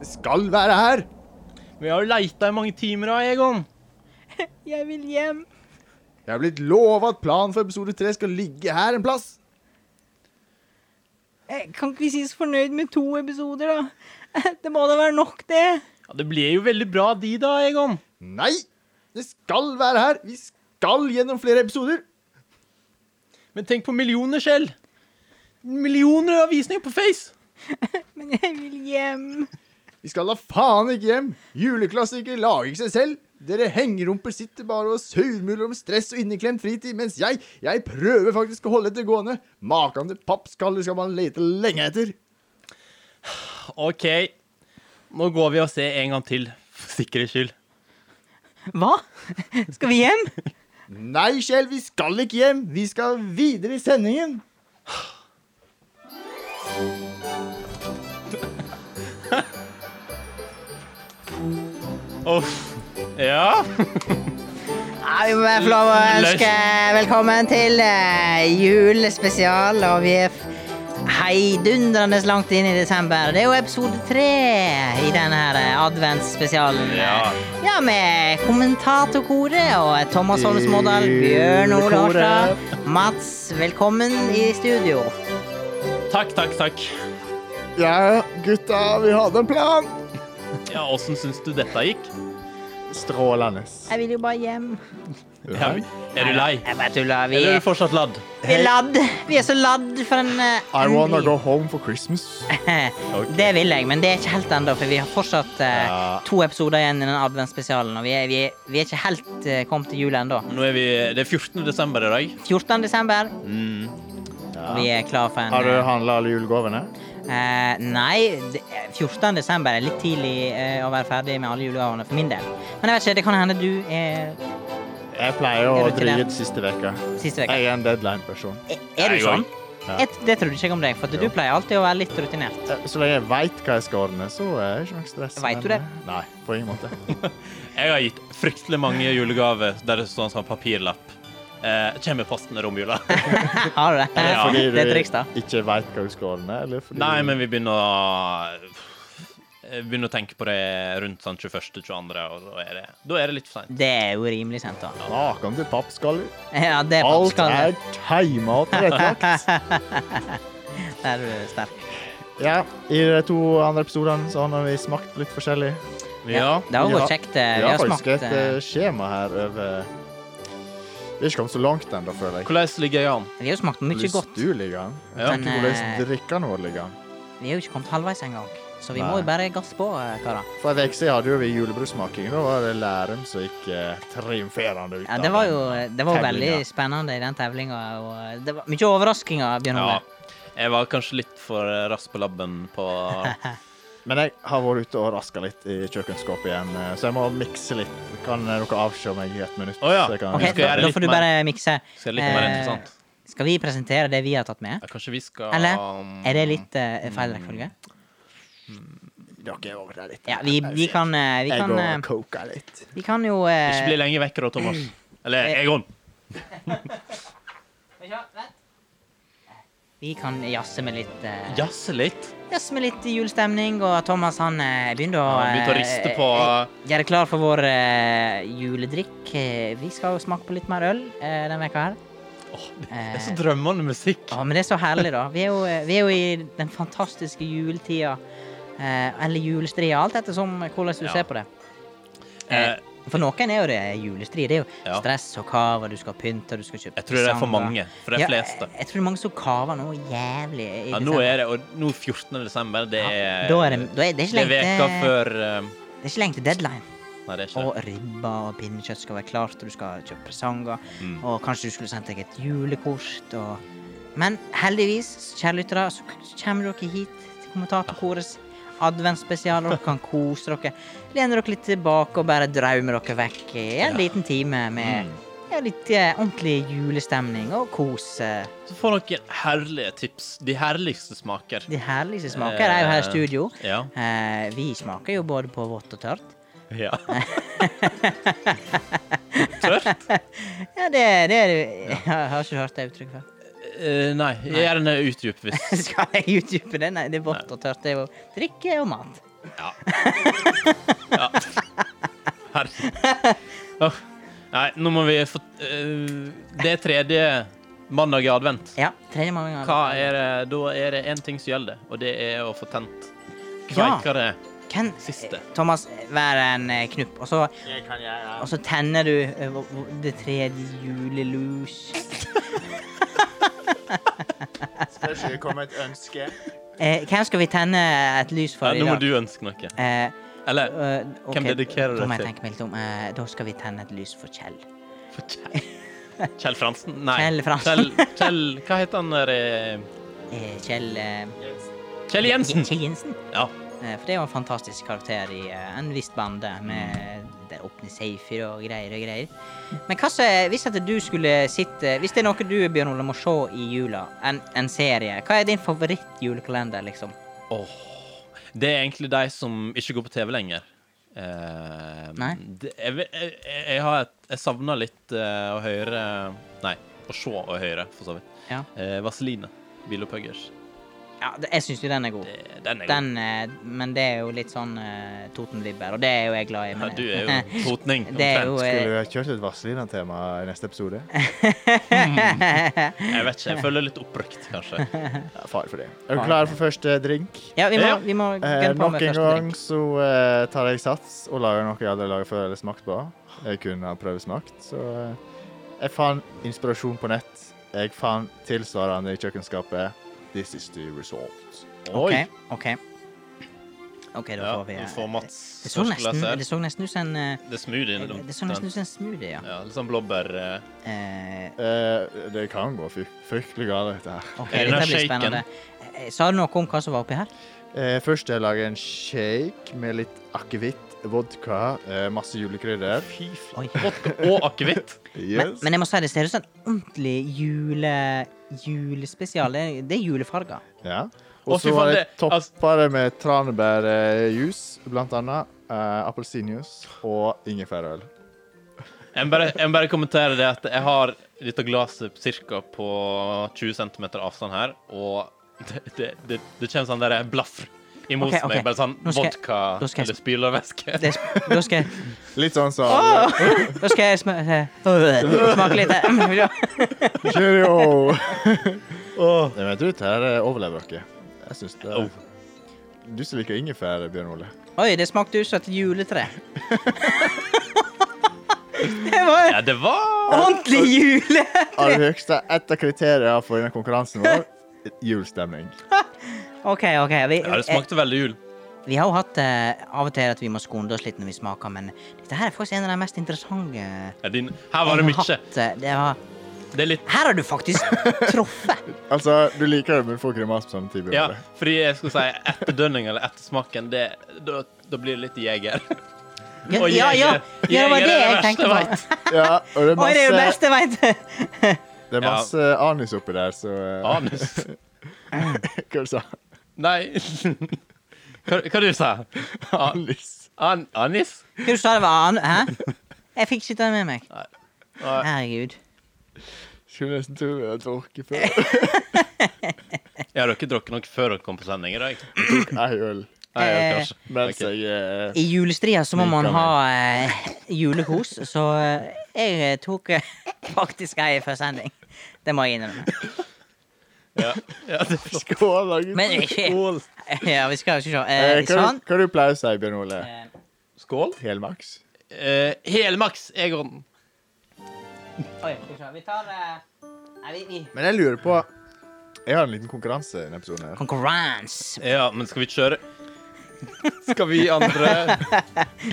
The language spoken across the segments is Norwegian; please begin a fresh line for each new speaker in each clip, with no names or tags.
Det skal være her.
Vi har jo leita i mange timer av Egon.
Jeg vil hjem.
Jeg er blitt lova at planen for episode tre skal ligge her en plass.
Jeg kan ikke sies fornøyd med to episoder, da. Det må da være nok, det.
Ja, Det ble jo veldig bra de, da, Egon.
Nei, det skal være her. Vi skal gjennom flere episoder.
Men tenk på millioner selv. Millioner av visninger på Face.
Men jeg vil hjem.
Vi skal da faen ikke hjem. Juleklassiker lager ikke seg selv. Dere hengerumper sitter bare og surmuler om stress og inneklemt fritid, mens jeg, jeg prøver faktisk å holde dette gående. Makan til pappskalle skal man lete lenge etter.
OK, nå går vi og ser en gang til, for sikkerhets skyld.
Hva? Skal vi hjem?
Nei, Kjell, vi skal ikke hjem. Vi skal videre i sendingen.
Uff. Ja.
Ja, vi må være få lov å ønske velkommen til eh, julespesial. Og vi er f- heidundrende langt inn i desember. Det er jo episode tre i denne her eh, adventsspesialen.
Ja.
Ja, med kommentatorkoret og Thomas Holmes Modal, Bjørn Ole
Koret.
Harstad. Mats, velkommen i studio.
Takk, takk, takk.
Ja, gutta, vi hadde en plan.
Ja, Åssen syns du dette gikk?
Strålende.
Jeg vil jo bare hjem.
Ja. Er du lei?
Jeg bare tuller. Vi
Eller er
er,
du fortsatt ladd?
vi er ladd. Vi er så ladd for en eh, endelig-
home for Christmas.
Det vil jeg, men det er ikke helt ennå, for vi har fortsatt eh,
Ja.
to episoder igjen i den adventsspesialen, og vi er, vi er, vi er ikke helt eh, kommet til jul ennå.
Nå er vi, Det er 14. desember i dag.
14. desember, og vi er klar for en eh,
handla alle julegavene?
eh, Nei, det- 14. desember er litt tidlig eh, å være ferdig med alle julegavene for min del. Men jeg vet ikke, det kan hende du er
Jeg pleier
å Er du ikke drite det?
siste veka.
siste uke.
er en deadline-person.
Er, er du
Jeg
sånn?
Ja.
Jeg, det trodde ikke jeg om deg, for at du
Jo.
pleier alltid å være litt rutinert.
Eh, Så lenge jeg veit hva jeg skal ordne, så er det ikke noe stress.
Vet
men,
du det?
eh, Nei, på ingen måte.
Jeg har gitt fryktelig mange julegaver der det står en sånn papirlapp. Eh, kommer posten i romjula?
Har du det?
Ja.
Det
Fordi
er et triks, da.
du ikke veit hva du skal ordne? Eller fordi
Nei, men vi begynner å Begynner å tenke på det rundt sånn 21.-22., og da er det, da er det litt for seint.
Det er jo rimelig sent, da.
Maken til pappskaller.
Ja, det er
Alt
pappskalle.
er tima og tilrettelagt.
Der er du sterk.
Ja, I de to andre episodene så har vi smakt litt forskjellig.
Ja.
Det har
Vi har-
vært kjekt. eh,
Vi
Vi
har
har
faktisk
smakt
et eh,
eh,
skjema her over Vi er ikke kommet så langt ennå, føler jeg.
Hvordan ligger jeg an?
Vi har jo smakt mye
Hvordan
godt.
du ligger an. Jeg
Ja.
vet ikke
Men,
hvordan
eh,
drikkene våre ligger an.
Vi er jo ikke kommet halvveis engang. Så vi
Nei.
må jo bare gasse på, eh, karer.
For en uke siden hadde jo vi julebrussmaking. Da var det Lærum som gikk eh, triumferende ut.
Ja,
av
det var
den. eh,
jo eh, det var jo veldig
Tevlinga.
spennende i den tevlinga. Og eh, det var mye overraskelser, Bjørn
Ja.
Ole.
Jeg var kanskje litt for eh, rask på labben på
Men jeg har vært ute og raska litt i kjøkkenskapet igjen, eh, så jeg må mikse litt. Kan eh, dere avse meg i ett minutt?
Å ja.
Så jeg kan-
OK,
vi skal
da,
gjøre
da
litt
får du
mer.
bare mikse.
Skal litt mer
Eh,
interessant.
Skal vi presentere det vi har tatt med?
Ja, kanskje vi skal
Eller er det litt eh, feil rekkefølge?
Dere er over der litt.
Ja, vi, vi kan eh, Vi
Jeg
kan,
går
eh,
og koker litt.
vi kan jo
Ikke bli
eh,
lenge vekk da, Thomas. Eller Egon.
Vi kan jazze med litt eh,
Jazze litt.
Jazze med litt julestemning, og Thomas han eh, begynner å
Han begynte å riste
eh,
på
Gjør deg klar for vår eh, juledrikk. Eh, vi skal jo smake på litt mer øl eh, denne veka her.
Åh, Det er så drømmende musikk.
Eh. Ja, men det er så herlig, da. Vi er jo, eh, vi er jo i den fantastiske juletida. Eh, eller julestria, alt ettersom hvordan du
Ja.
ser på det.
Eh,
For noen er jo det julestri. Det er jo
Ja.
stress og kav, og du skal pynte, og du skal kjøpe
Jeg tror det er for
presanger.
mange. For de
Ja,
fleste.
Jeg, jeg tror det er mange som kaver noe jævlig. i
Ja, nå
desember.
er det og nå 14. desember. Det er,
Da er det, da er det, ikke
det er
lenge
veka
til,
før eh,
det er ikke lenge til deadline.
Nei, det er ikke
Og
det.
ribba og pinnekjøtt skal være klart, og du skal kjøpe presanger.
Mm.
Og kanskje du skulle sendt deg et julekort. Og... Men heldigvis, kjære lyttere, så k- så kommer dere hit til kommentatorkorets adventsspesial. Dere kan kose dere. Lener dere litt tilbake og bare drømmer dere vekk i en
Ja. Mm.
liten time med ja, litt eh, ordentlig julestemning og kos. eh.
Så får dere herlige tips. De herligste smaker.
De herligste smaker er jo her i studio.
Eh, Ja.
Eh, vi smaker jo både på vått og tørt.
ja. Tørt?
Ja, det, det er det. Jeg har ikke hørt det uttrykket før.
Eh, nei, gjerne utdyp hvis
Skal jeg utdype det? Nei, det er vått og tørt. Det er jo drikke og mat.
Ja. ja. Her. Åh. Nei, nå må vi få eh, Det er tredje mandag i advent.
Ja, tredje mandag.
Hva er det? Da er det én ting som gjelder, og det er å få tent
Ja.
kveikere.
Hvem?
Siste.
eh, Thomas, vær en eh, knupp, og så,
Jeg kan gjøre
og så tenner du eh, hvor- hvor- det tredje julelus.
Spørs om det kommer et ønske.
Eh, hvem skal vi tenne et lys for
Ja,
i
nå må
dag?
du ønske noe.
Eh,
Eller
eh, ok,
Hvem dedikerer
Da
du
må
det
jeg
til?
tenke meg litt om. Eh, da skal vi tenne et lys for Kjell.
for Kjell Kjell Fransen? Nei.
Kjell Fransen.
Kjell, Kjell Hva heter han der eh,
Eh, Kjell eh,
Kjell Jensen!
Kjell Jensen.
Ja.
Eh, for det er jo en fantastisk karakter i eh, en viss bande, med der åpne safer og greier og greier. Men hva så, hvis at du skulle sitte Hvis det er noe du, Bjørn Ole, må se i jula, en, en serie, hva er din favorittjulekalender, liksom?
Åh. Det er egentlig de som ikke går på TV lenger. Eh,
Nei.
Det, jeg, ve- jeg, jeg, jeg har et, jeg savner litt eh, å høre Nei, å se og høre, for så vidt.
Ja.
Eh, Vaseline. Bilo Puggers.
ja det, jeg syns jo den er god.
Eh, Den er god.
Den, eh, men det er jo litt sånn eh, Totenlibber, og det er jo jeg glad i.
Ja,
Men,
du er jo totning.
det er jo
omtrent.
Skulle
eh,
vi ha kjørt et Vazelina-tema i neste episode?
Jeg vet ikke. Jeg føler litt opprøkt, kanskje.
Ja, far for det. Er du klar for første drink?
Ja, vi må,
Ja.
vi må
Eh,
gønne på
nok
med
en
første
gang
drink.
så eh, tar jeg sats og lager noe jeg aldri lager før eller smakt på. Jeg kunne ha prøvd smakt, så eh, jeg fant inspirasjon på nett. Jeg fant tilsvarende i kjøkkenskapet. This is the result.
Oi!
OK. OK, Ok, da
Ja,
får vi
vi
eh,
får Mats
Det så
første glass
nesten,
her.
det så nesten ut som en eh,
Det er smoothien.
det, det så nesten ut som en smoothie, ja.
Ja, litt sånn blåbær eh.
Eh,
Eh, det kan gå fry fryktelig galt, dette her.
OK,
Er det
dette
den
blir
shaken?
spennende. Eh, Sa du noe om hva som var oppi her?
Eh, først jeg lager en shake med litt akevitt, vodka, eh, masse julekrydder.
Fy
Oi.
flate. Vodka og akevitt.
Men,
Yes.
men jeg må si det ser ut som en ordentlig jule, julespesial. Det er- Det er julefarger.
Ja.
Å,
Og
fy
så har
faen,
jeg
det-
toppa
altså-
det med tranebærjuice, blant annet. eh, Appelsinjuice og ingefærøl.
Jeg må bare, jeg må bare kommentere det at jeg har dette glasset cirka på 20 cm avstand her, og det, det, det, det kommer sånn der blaffer i mosen.
Ok, ok.
meg, Bare sånn
Nå skal jeg-
vodka
da skal jeg-
eller spylervæske.
Det, er sp- da skal jeg
Litt sånn som alle.
Da skal jeg sma eh, smake litt. eh.
Cheerio! Jeg vet du, dette her eh, overlever dere. Jeg syns det
Oh.
Du som liker ingefær, Bjørn Ole.
Oi, det smakte ut som et juletre. Det var
Ja, det var
ordentlig jule...
Av det høyeste ett av kriteriene for denne konkurransen vår julstemning.
OK, OK. Vi,
Ja, det smakte veldig jul.
Vi har jo hatt eh, av og til at vi må skunde oss litt når vi smaker, men dette her er faktisk en av de mest interessante
Ja, din, her var det
jeg har
mye.
hatt, eh, det var,
Det er litt
her har du faktisk truffet.
Altså, du liker det, men du får grimas på samme tid. Bjørn
Ja,
Ole.
fordi jeg skulle si etter dønning eller etter smaken, det, da, da blir det litt jeger.
Ja,
Og
ja, ja,
jeger-
ja, det var
jeger
det
er
jeg
det
tenkte
verste
på.
Ja, og det er
Oi, det er det
masse,
beste jeg vet.
det er
Ja.
masse anis oppi der, så eh,
Anus.
Hva sa du?
Nei Hva, hva du sa du? An,
Anis.
an, anis?
Hva du sa det var an... Hæ? Jeg fikk ikke det med meg.
Nei.
Herregud.
Skulle nesten tro jeg hadde drukket før.
Jeg har ikke drukket noe før dere kom på sending i dag.
Nei, øl.
Nei, jeg
Eh,
har kanskje.
Mens
Ok.
jeg eh,
I julestria så må man
Liker
ha eh, julekos, så eh, jeg tok eh, faktisk ei før sending. Det må jeg innrømme.
Ja, ja, det er flott.
Skål, da, gutter.
Men ikke-
Skål.
Ja, vi skal jo ikke se.
Eh,
Eh,
hva,
sånn.
hva du pleier du å si, Bjørn Ole?
Eh,
Skål.
Helmaks?
Eh, Helmaks, Egon.
Oi, skal vi se. Vi tar eh, Nei, vi, vi
Men jeg lurer på Jeg har en liten konkurranse i denne episoden. her.
Konkurranse.
Ja, men skal vi kjøre Skal vi andre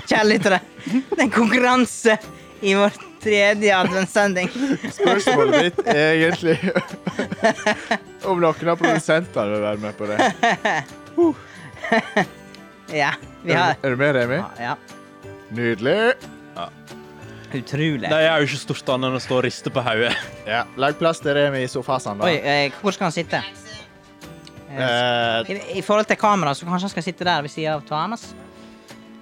Kjære lyttere, det er en konkurranse i vår tredje adventssending.
Spørsmålet mitt er egentlig om noen av produsentene vil være med på det.
Ja, vi
Er,
har
du, er du med, Remi?
ja,
Nydelig.
Utrolig.
Nei, jeg har jo ikke stort annet enn å stå og riste på hodet.
Ja, Lag plass til Remi i sofaen, da.
Oi, eh, hvor skal han sitte? Eh,
Eh,
I, I forhold til kamera, så kanskje han skal sitte der ved siden av Thomas.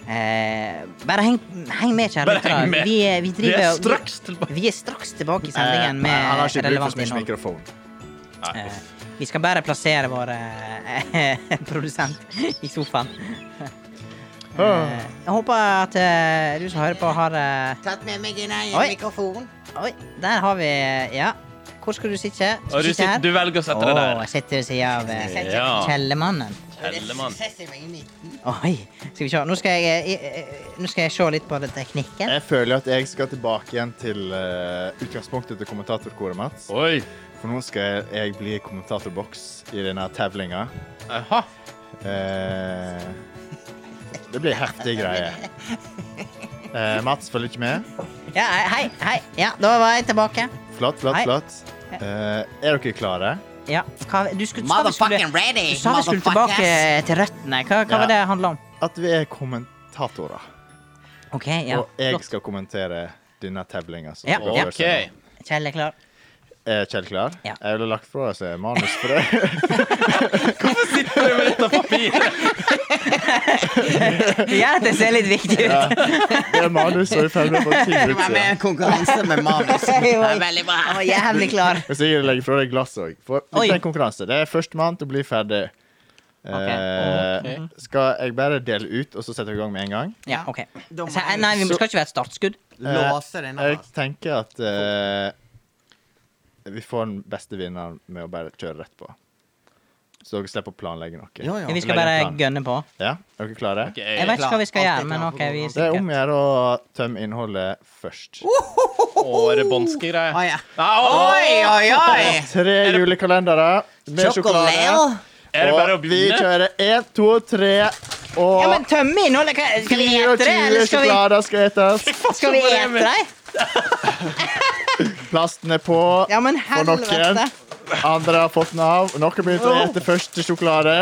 Eh, bare heng, heng med, kjære
Bare heng
lyttere.
med.
Vi, er- vi
Vi
driver
er
og-
straks tilbake.
Vi er straks tilbake i
eh,
sendingen med
han har ikke bruk for
relevant
så mye
innhold.
mikrofon.
Nei,
Eh,
uff.
vi skal bare plassere vår eh, produsent i sofaen. Eh, Jeg håper at eh, du som hører på, har eh,
Tatt med meg en egen
Oi.
mikrofon.
Oi, der har vi Ja. Hvor skal du sitte? Skal
Og du, sitter, du velger å sette deg
Å,
der.
jeg sitter ved siden av eh,
Ja.
Kjellermannen.
Hellemann.
Setter jeg meg i midten.
Oi. Skal vi se. Nå skal jeg, eh, i- eh, nå skal jeg se litt på den teknikken.
Eh.
Jeg føler at jeg skal tilbake igjen til eh, utgangspunktet til kommentatorkoret, Mats.
Oi.
For nå skal jeg, jeg bli kommentatorboks i denne tevlinga.
Aha.
Eh, det blir heftige greier. Eh, Mats følger ikke med.
Ja, eh, hei, hei. Ja, da var jeg tilbake.
Flott, flott,
Hei.
flott. Eh, er dere klare?
Ja. Hva, du skulle, sa vi skulle,
Motherfucking ready,
du sa vi skulle tilbake eh, til røttene. Hva, hva
Ja.
var det det handla om?
At vi er kommentatorer.
OK, ja.
Og jeg
flott.
skal kommentere denne tevlinga. som
Ja,
skal
ja.
gjøres
OK.
nå.
Kjell er klar.
Er Kjell klar?
Ja.
Jeg ville lagt fra oss manus for det.
Hvorfor sitter du med dette papiret?
Du gjør at det ser litt viktig ut.
Det er manus, og vi følger på ti
Det var
minutter.
med en konkurranse med manus. Det var veldig bra.
Han var jævlig klar.
Jeg sier legge fra deg glasset òg. For
Oi.
dette er en konkurranse. Det er førstemann til å bli ferdig. Eh, Skal jeg bare dele ut, og så setter vi i gang med en gang?
Ja, ok.
Da må
Så, eh,
jeg-
nei, vi skal ikke være et startskudd.
Låse Eh, den
Jeg
av.
tenker at eh, vi får den beste vinneren med å bare kjøre rett på. Så dere slipper å planlegge noe.
Ja, ja.
Vi skal
Legg en
bare
plan.
gønne på.
Ja, Er dere klare?
Ok,
Jeg vet ikke hva vi skal
Alt er
gjøre, men
klart.
ok, vi er
Det er om å
sikre.
gjøre å tømme innholdet først.
Å, er det bånske greier?
Å, ja.
Nei, å,
Oi, oi, oi!
Tre julekalendere med sjokolade.
Sjokolade.
Er det bare å
Og vi
begynne?
kjører én, to, tre og
Ja, men tømme innholdet! hva- Skal vi ete det,
24
eller skal vi,
sjokolader skal etes.
skal vi ete det?
Plasten er på.
Ja, men
For noen.
helvete.
Andre har fått den av. Noen begynte å ete første sjokolade.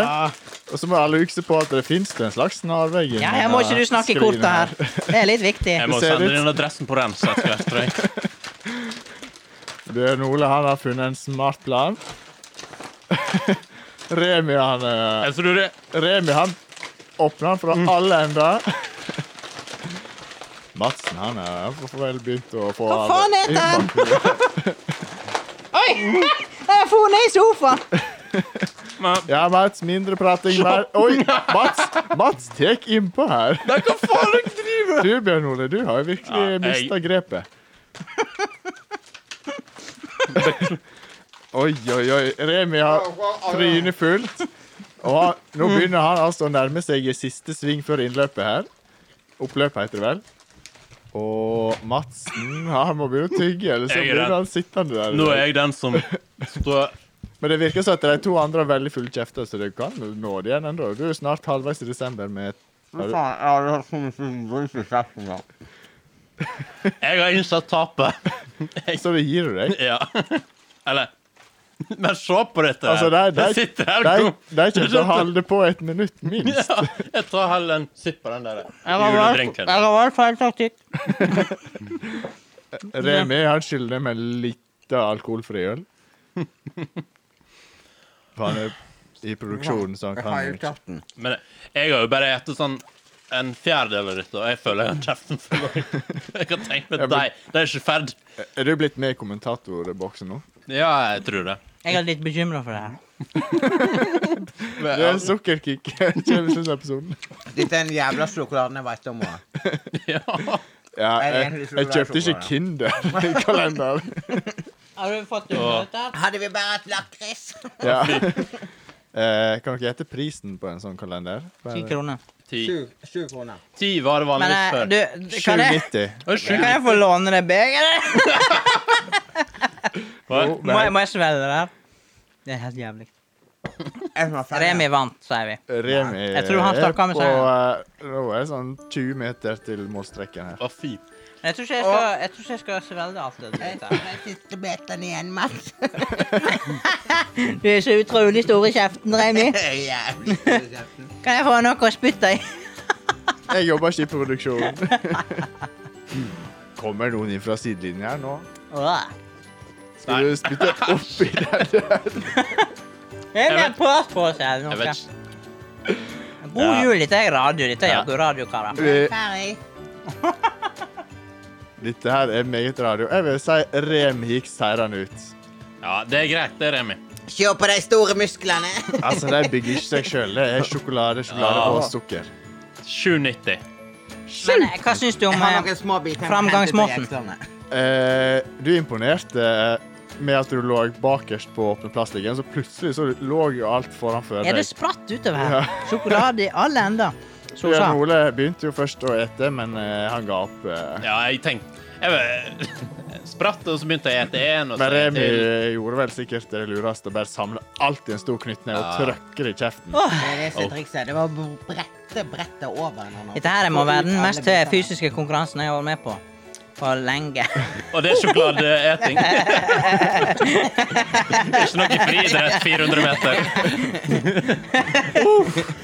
Og så må alle huske på at det fins en slags snarvei.
Ja, her må ikke du snakke i korta her. Det er litt viktig.
Jeg må
Det ser
sende
ut-
inn adressen på den. Så jeg skal etter deg.
Bjørn Ole han har funnet en smart plan. Remi han eh,
Jeg tror det.
Remi han åpner han fra alle ender. Madsen han eh, han får vel begynt å få
Hva faen heter han? Oi! Jeg har funnet Eh, i sofaen!
Men,
Ja, Mats, mindre prating. Mer. Oi, Mats, Mats tek innpå her.
nei, hva faen er det du driver med?
Du, Bjørn Ole, du har jo virkelig
Ja, jeg-
mista grepet. oi, oi, oi. Remi har trynet fullt. Og han- nå
Mm.
begynner han altså å nærme seg i siste sving før innløpet her. Oppløpet, heter det vel. Og Madsen han må begynne å tygge, eller så
Jeg er
blir
redd.
han sittende der.
Nå er jeg den som står
Men det virker som at de to andre har veldig fulle kjefter, så du kan nå det igjen ennå. Du er jo snart halvveis i desember med har du-
Jeg har innsett tapet.
Så det gir du deg.
Ja. Eller Men se på dette. her.
Altså, de, de,
jeg sitter her
de,
nå.
de kommer til å holde på et minutt minst.
Ja, jeg tar heller en sipp av den der
Jeg har
juledrinken.
valgt feil taktikk.
Remi han skylder meg litt alkoholfri øl. For Han er i produksjonen, så han kan jo ikke
Men jeg har jo bare spist sånn en fjerdedel av dette, og jeg føler jeg har kjeften full. Jeg kan tenke meg
Ja,
at
men-
de, de er ikke ferd.
Er du blitt med i kommentatorboksen nå?
Ja, jeg tror det.
Jeg er litt bekymra for det her.
Det er en sukkerkick. Kjem i slutten av episoden.
Dette er den jævla sjokoladen jeg vet om. også.
Ja.
Ja, jeg, jeg kjøpte ikke Kinder i kalenderen.
Har du fått
Ja.
dette?
Hadde vi bare hatt lakris
Ja. Eh, kan dere gjette prisen på en sånn kalender?
Ti kroner.
Ti.
Sju- Sju kroner.
Ti var det
Men
vanligvis
eh,
før.
du, kan jeg,
790.
Oi, sju.
kan jeg få låne det begeret?
Hva?
Jo,
Må, jeg-
nei,
må jeg svelge det her? Det er helt jævlig.
Jeg må falle.
Remi vant, sier vi.
Remi
Jeg tror han
er
stakk
på
av med
eh, Nå er det sånn 20 meter til målstreken her.
Å, fy.
Men Jeg tror ikke jeg skal, jeg tror ikke jeg skal svelge alt det
Jeg
dritt
tar
her.
den siste beten igjen, Mats.
Du er så utrolig stor i kjeften, Remi.
Jævlig stor kjeften.
Kan jeg få noe å spytte i?
Jeg jobber ikke i produksjon. Kommer noen inn fra sidelinjen her nå?
Åh.
Skal du spytte oppi der?
Remi
Jeg
har prat på oss her.
Jeg vet ikke.
God
Ja.
jul, dette er radio. Dette er
Ja.
jaggu radio, karer.
Vi-
Ferdig.
Dette her er meget radio. Jeg vil si Remi gikk seirende ut.
Ja, det er greit, det, Remi.
Se på de store musklene.
Altså, De bygger ikke seg sjøl. Det er sjokolade, sjokolade
Ja.
og sukker.
790.
Men eh, hva syns du om
Jeg har
eh,
noen små biter.
Framgangsmåten.
Eh, du imponerte eh, med at du lå bakerst på åpne plastliggen, så plutselig så lå jo alt foranfør
Er
deg.
det spratt utover her? Sjokolade i alle ender. Som hun
Bjørn
sa.
Ole begynte jo først å ete, men eh, han ga opp. Eh.
Ja, jeg tenkte jeg, vet- Spratt, og så begynte jeg å ete én, og så
Men Remi
til.
gjorde vel sikkert det lureste å bare samle alt i en stor knyttneve og
Ja.
trøkke det i kjeften.
Det er det som er trikset. Det var å brette brettet over en annen.
Dette her må
Få ut
være den
alle
mest eh,
bitene.
fysiske konkurransen jeg har vært med på for lenge.
Og det er sjokoladeeting. Ikke noe friidrett 400 meter.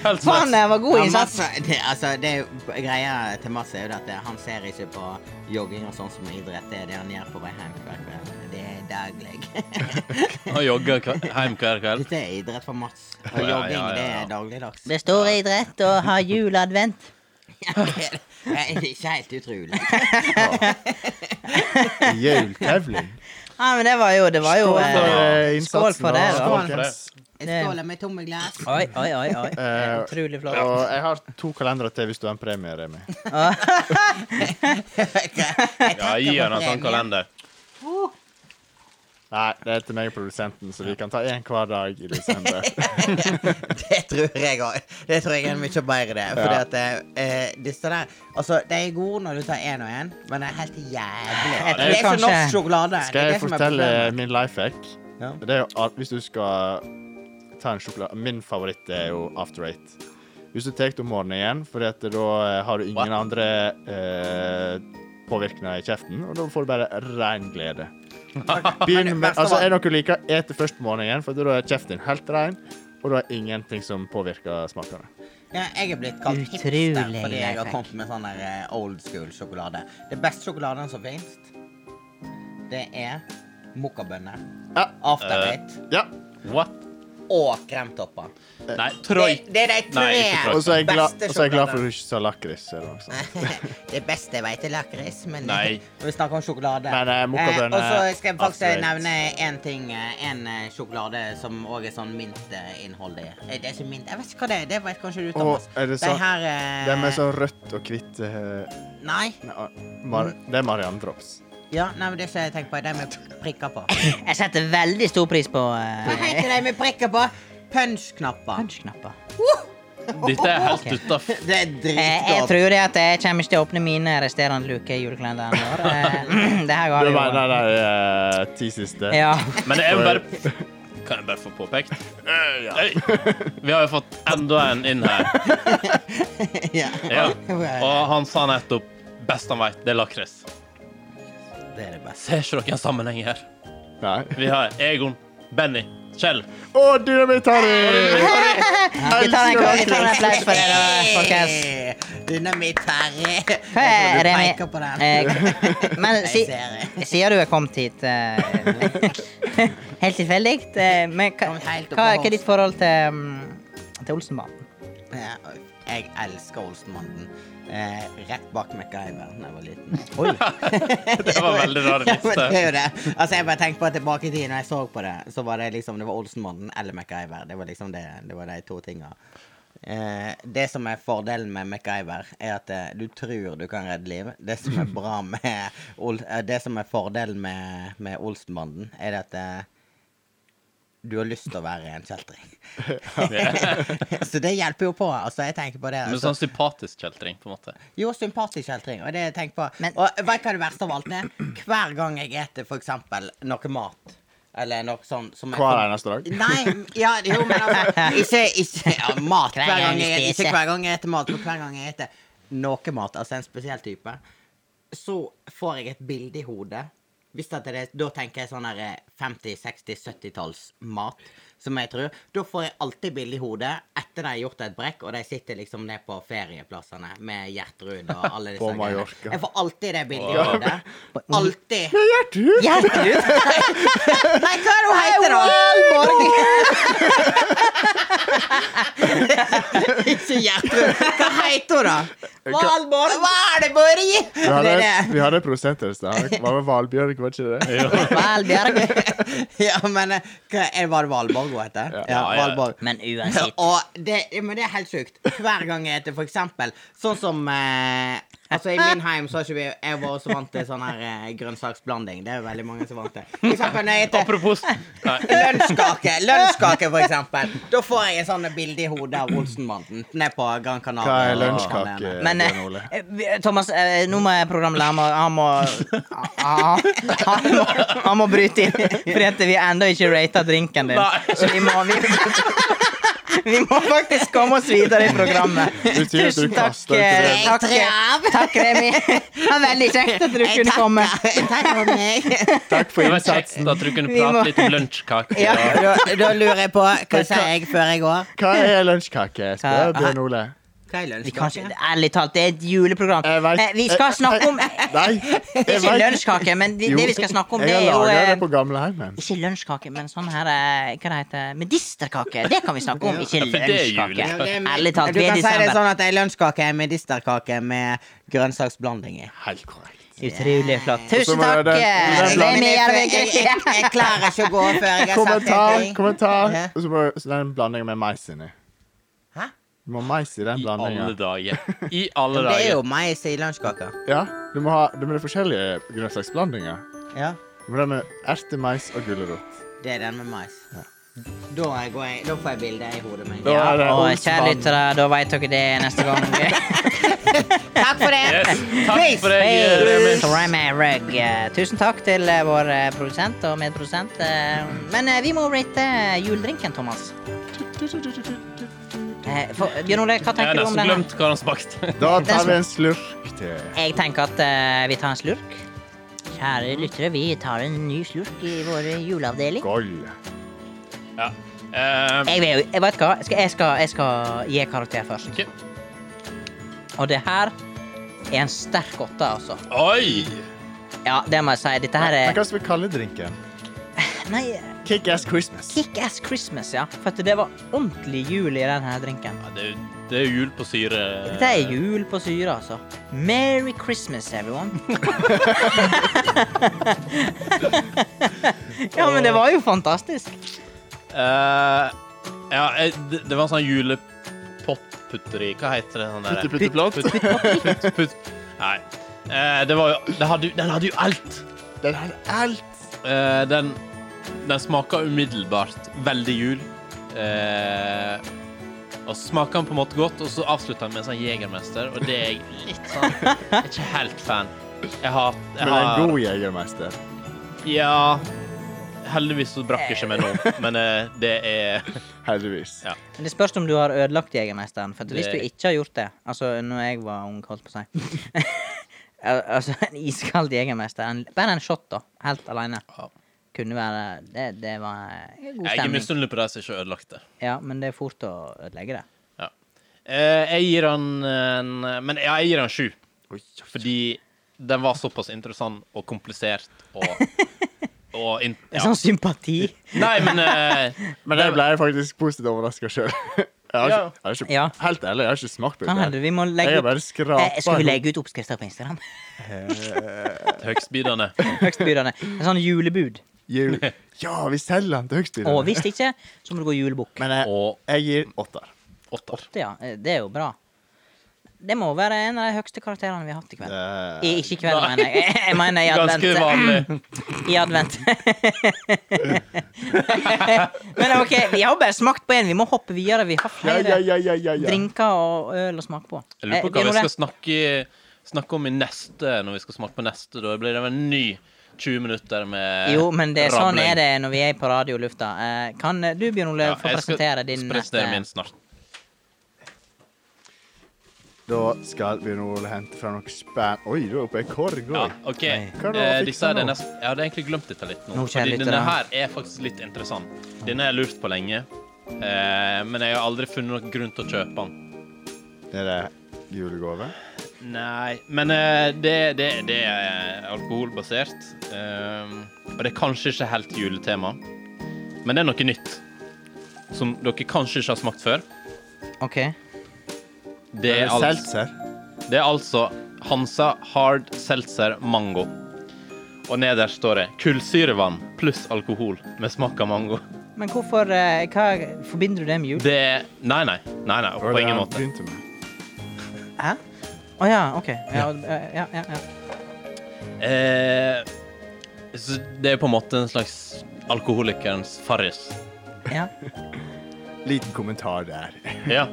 Helt
Faen,
slags.
det var god
Ja,
innsats.
Mats, det, altså, det er jo, greia til Mats er jo det at eh, han ser ikke på jogging og sånn som idrett. Det er det han gjør på vei hjem hver kveld. Det er daglig.
Og jogger hver- hjem hver kveld.
Dette er idrett for Mats. Og
Ja, ja,
jogging,
ja,
det
ja.
er dagligdags.
Det er stor idrett å ha juleadvent.
Det er ikke helt utrolig.
Hjultevling.
Ja, men det var jo Det var jo
Skål for eh, innsatsen,
eh, skål for det,
da,
da.
Skål for
folkens.
Jeg
Det-
skåler med tomme glass.
eh, Oi, oi, oi. oi. Det er
Eh,
Utrolig flott.
Og jeg har to kalendere til hvis du har en premie, Remi.
Ja, gi han en sånn kalender.
Nei, det er til meg og produsenten, så vi kan ta én hver dag i desember.
Det tror jeg òg. Det tror jeg er mye bedre, det. Fordi
Ja.
at eh, disse der Altså, de er gode når du tar én og én, men det er helt jævlig.
Jeg
det
tror
er ikke
kanskje-
norsk sjokolade. det er
Skal jeg
det som er
fortelle
problemet.
min life hack?
Ja.
Det er jo at hvis du skal ta en sjokolade Min favoritt er jo After Eight. Hvis du tar det om morgenen igjen, for at da eh, har du ingen
What?
andre eh, påvirkninger i kjeften, og da får du bare ren glede. Begynn med,
best av
altså,
alt-
er det noe du liker, et det først om morgenen igjen, for da er kjeften din helt ren, og da er ingenting som påvirker smakene.
Ja, jeg er blitt kalt
Utrolig
hipster fordi jeg har
lifehack.
kommet med sånn der eh, old school sjokolade. Det beste sjokoladen som fins, det er mokkabønner,
Ja.
after
Eh.
eight
ja.
What?
og kremtopper.
Nei,
Det,
Troy.
det er de tre
Eh. Nei, ikke Troy.
Og så er jeg glad,
Beste
og så er jeg glad
sjokolade.
for at du ikke sa lakris. eller noe sånt.
det beste jeg vet er lakris, men
Nei.
når vi snakker om sjokolade
Men, eh, mokkabønner,
Og så skal jeg faktisk
absolutt.
nevne én ting. eh, En eh, sjokolade som òg er sånn myntinnhold i. Eh, Det er ikke mynt Jeg vet ikke hva det er. Det vet kanskje du,
Å,
Thomas.
er det
de
sånn-
her eh,
Det er med sånn rødt og hvitt eh,
Nei.
nei, Mar Det er Marianne Drops.
Ja, nei, men det er ikke jeg tenker på. De med prikker på.
Jeg setter veldig stor pris på
Hva
eh,
heter de med prikker på? Punch-knapper.
punsjknapper.
Dette er helt utafor.
Det er
Eh, Jeg
dritgodt.
tror det at jeg kommer ikke til å åpne mine resterende luker i julekalenderen i år. Eh, Det her
Du
går
mener
jo.
de eh, ti siste?
Ja.
Men jeg vil bare Kan jeg bare få påpekt? Oi. Vi har jo fått enda en inn her.
Ja.
Ja. Og han sa nettopp Best han veit, det er lakris.
Det er det beste.
Ser ikke dere en sammenheng her?
Nei.
Vi har Egon, Benny, Kjell.
Å, dynamitt-Harry!
Vi tar en, vi tar en applaus for det, da, folkens.
Hey! Dynamitt-Harry.
Hva er
Du
Remi?
peker på den.
Eh, Men si,
Jeg ser
sier du er kommet hit eh, Helt tilfeldig. eh, Men hva,
Kom helt opp
hva,
av
hva er ditt forhold til, mm, til Olsenbanen?
Ja, Jeg elsker Olsenbanden. Eh, rett bak MacGyver da jeg var liten.
Det var veldig rar
Ja, men det er
liste.
jo det. Altså, jeg bare tenkte på at tilbake i tiden når jeg så på det, så var det liksom det var Olsenbanden eller MacGyver. Det var liksom det, det var de to tinga. Eh, det som er fordelen med MacGyver, er at eh, du tror du kan redde liv. Det som er bra med Ol eh, Det som er fordelen med, med Olsenbanden, er det at eh, du har lyst til å være en kjeltring. så det hjelper jo på. Altså, jeg tenker på det.
Men
Altså.
sånn sympatisk kjeltring, på en måte.
Jo, sympatisk kjeltring. Og det jeg tenker på
Men-
Og vet du hva det verste av alt er? Hver gang jeg eter for eksempel noe mat, eller noe sånn som er-
Hver eneste dag.
Nei, ja, jo, men altså Ikke, ikke ja, mat.
Hver
Hver
gang
gang
du
jeg,
spiser.
ikke hver gang jeg eter mat, men hver gang jeg eter noe mat, altså en spesiell type, så får jeg et bilde i hodet. Hvis at det, da tenker jeg sånn her eh, 50-, 60-, 70-tallsmat, som jeg tror. Da får jeg alltid bilde i hodet etter de har gjort et brekk, og de sitter liksom ned på ferieplassene med Gjertrud og alle disse
På
greiene.
Mallorca.
Jeg får alltid det bildet i hodet. Alltid.
Gertrud!
Gjertrud!
Nei, hva er det hun heter, da?
Valborg!
Ikke Gjertrud. Hva heter hun, da? Valborg.
Vi
Valborg!
hadde,
Det er
et,
det.
vi hadde et prosenter i stad. Hva med Valbjørg, var ikke det?
Vel, Bjørg.
ja, men eh, hva, er- Var det Valborg hun heter?
Ja.
Ja, ja.
Valborg.
Men uansett.
Og det, men det er helt sjukt. Hver gang jeg heter for eksempel Sånn som eh, Altså I min heim så har ikke vi Jeg var også vant til sånn her eh, grønnsaksblanding. Det er jo veldig mange som er vant til. For eksempel når jeg heter
Apropos Nei.
lønnskake. Lønnskake, for eksempel. Da får jeg et sånt bilde i hodet av Olsenbanden ned på Gran Canaria.
Hva er
Kanalene.
lunsjkake?
Men eh,
Bjørn Ole?
eh, Thomas, eh, nå må jeg programleder Han må Han må, han må, han må bryte inn. For at vi har ennå ikke rata drinken din.
Nei.
Så vi må, vi, vi må faktisk komme oss videre i programmet.
Betyr at du
Tusen takk.
kaster ut
eh,
det?
Takk,
Jeg
takk Remi. Det var veldig kjekt at du
Jeg
kunne komme.
takker. Takk for meg.
Takk for
Det var
innsatsen.
kjekt at du kunne
Vi må-
prate litt om lunsjkake.
Ja.
og-
Da, da lurer jeg på Hva sier jeg før jeg går?
Hva er lunsjkake?
Hva-
spør Bjørn Ole.
Hva er
Vi kan ikke,
lønnskake?
ærlig talt, det er et juleprogram.
Jeg vet-
Eh, Vi skal snakke om Det
Nei,
er
jeg
ikke
vet-
lunsjkake, men det, det vi skal snakke om, det er
Jeg
jo
har laga det
eh,
på gamleheimen.
Ikke lunsjkake, men sånn her eh, Hva det heter Medisterkake. Det kan vi snakke om, ikke
Ja, for det er
lunsjkake.
jul.
Ærlig talt,
du
vi er
kan
i
si det
desember.
sånn at ei lunsjkake er medisterkake med grønnsaksblanding i.
Helt korrekt.
Utrolig flott.
Så må
Tusen takk,
det-
eh,
det er blant-
Remi Jervik.
jeg, jeg, jeg klarer ikke å gå før jeg har sagt
Kommentar,
en ting.
kommentar.
Ja.
Og så må så det er en blanding med mais inni.
Hæ?
Du må ha mais i den
I alle
blandingen
dager. I alle
Det er jo
dager.
mais i lunsjkaka.
Ja, du må ha du må ha forskjellige grønnsaksblandinger.
Ja,
Du må ha med erter, mais og gulrot.
det er den med mais. Da, er jeg, går jeg, da får jeg bildet i hodet mitt.
Da
Ja,
er det
og
Olsenbanden.
kjære lyttere, da veit dere det neste gang.
Takk for det.
Yes. Takk for det,
Hei,
Remi.
så Remi Rugg. Eh, Tusen takk til eh, vår eh, produsent og medprodusent. eh, Men eh, vi må rate eh, juledrinken, Thomas. Eh, for- Bjørn Ole, hva
Jeg har
tenker du om
nesten
den?
glemt hva den smakte.
Da tar vi en slurk til.
Jeg tenker at eh, vi tar en slurk. Kjære lyttere, vi tar en ny slurk i vår juleavdeling.
Goll.
Ja. Eh,
Jeg, vil, jeg vet hva, skal, jeg, skal, jeg skal gi karakter først.
ok.
Og det her er en sterk åtte, altså.
Oi!
Ja, det må jeg si. Dette her
Men
er
hva skal vi kalle drinken?
Nei,
Kick ass Christmas.
Kick Ass Christmas, ja. For at det var ordentlig jul i denne drinken.
Ja, det, er jo- det er jo jul på syre.
Dette er jul på syre, altså. Merry Christmas, everyone. ja, men det var jo fantastisk.
Eh, ja, jeg, det, det var en sånn julepop-putteri. Hva heter det? Sånn der?
Putte-putte-plott?
Putt- putt- putt- putt- Nei. Eh, det var jo, det hadde, jo- den hadde jo alt.
Den har alt.
Eh, den den smaka umiddelbart veldig jul. Eh, og smaka den på en måte godt, og så avslutta den med en sånn Jegermester, og det er jeg litt sånn jeg er Ikke helt fan. Jeg har,
Men
jeg
det er en
har
god jegermeister.
Ja. Heldigvis så brakk jeg ikke meg nå, men eh, det er
Heldigvis.
Ja.
Men det spørs om du har ødelagt Jegermesteren. For at hvis
Det-
du ikke har gjort det Altså, når jeg var ung, holdt på å si. Al- altså, en iskald Jegermester. En, bare en shot, da. Helt aleine.
Ja.
Kunne være Det, det var en god
Jeg er
stemning.
misunnelig på de som ikke har ødelagt det.
Ja, men det er fort å ødelegge det.
Ja. Eh, jeg gir han en Men ja, jeg gir han sju. Fordi den var såpass interessant og komplisert og, og in,
En
ja.
sånn sympati.
Nei, men eh,
Men jeg ble faktisk positivt overraska sjøl.
Ja.
Ja.
Helt ærlig, jeg har ikke smakt på
Kan hende
det.
vi må
Jeg
legge
har
ut
bare skrapa
eh, Skal vi legge ut oppskrifter på Instagram?
Høgstbydende.
Høgstbydende. En sånn julebud.
Jul. Ja, vi selger den til
Og
høgstbydende.
hvis ikke, så må du gå julebukk.
Men jeg,
Og
jeg gir åtter.
åtter.
Det, ja. eh, det er jo bra. Det må være en av de høyeste karakterene vi har hatt i kveld.
Eh,
I, ikke i kveld,
Nei.
mener jeg. Jeg mener i advent.
Ganske vanlig.
I advent. Men OK, vi har bare smakt på én. Vi må hoppe videre. Vi har
Ja,
flere
ja, ja, ja, ja, ja.
drinker og øl å smake på.
Jeg lurer på
Eh,
hva vi
Bjørn Ole,
skal snakke, snakke om i neste, når vi skal smake på neste. Da blir det vel en ny 20 minutter med
Jo, men det, sånn
rabling.
er det når vi er på radiolufta. Eh, Kan du, Bjørn Ole,
Ja,
få
jeg skal
presentere din eh,
presentere min snart.
Da skal vi nå hente fram noe spenn... Oi, du er oppe i korg
Ja,
òg.
OK.
Hva er det å
Eh,
fikse
disse er det
nå?
nest... Jeg hadde egentlig glemt dette litt nå.
Nå skjer
Fordi
litt
denne
det.
her er faktisk litt interessant. Denne har jeg lurt på lenge. Eh, men jeg har aldri funnet noen grunn til å kjøpe den.
Er det julegave?
Nei, men eh, det, det, det er alkoholbasert. Eh, og det er kanskje ikke helt juletema. Men det er noe nytt. Som dere kanskje ikke har smakt før.
OK.
Det er, al
Seltzer.
det er altså Hansa Hard Seltzer Mango. Og nederst står det kullsyrevann pluss alkohol med smak av mango.
Men hvorfor eh, Hva forbinder du det med jul?
Det er Nei, nei. nei, nei
Det var
på
det
ingen
han
måte.
begynte med.
Hæ? Å ja, OK. Ja, ja, ja, ja.
Eh, så det er på en måte en slags alkoholikerens farris.
ja.
Liten kommentar der.
Ja.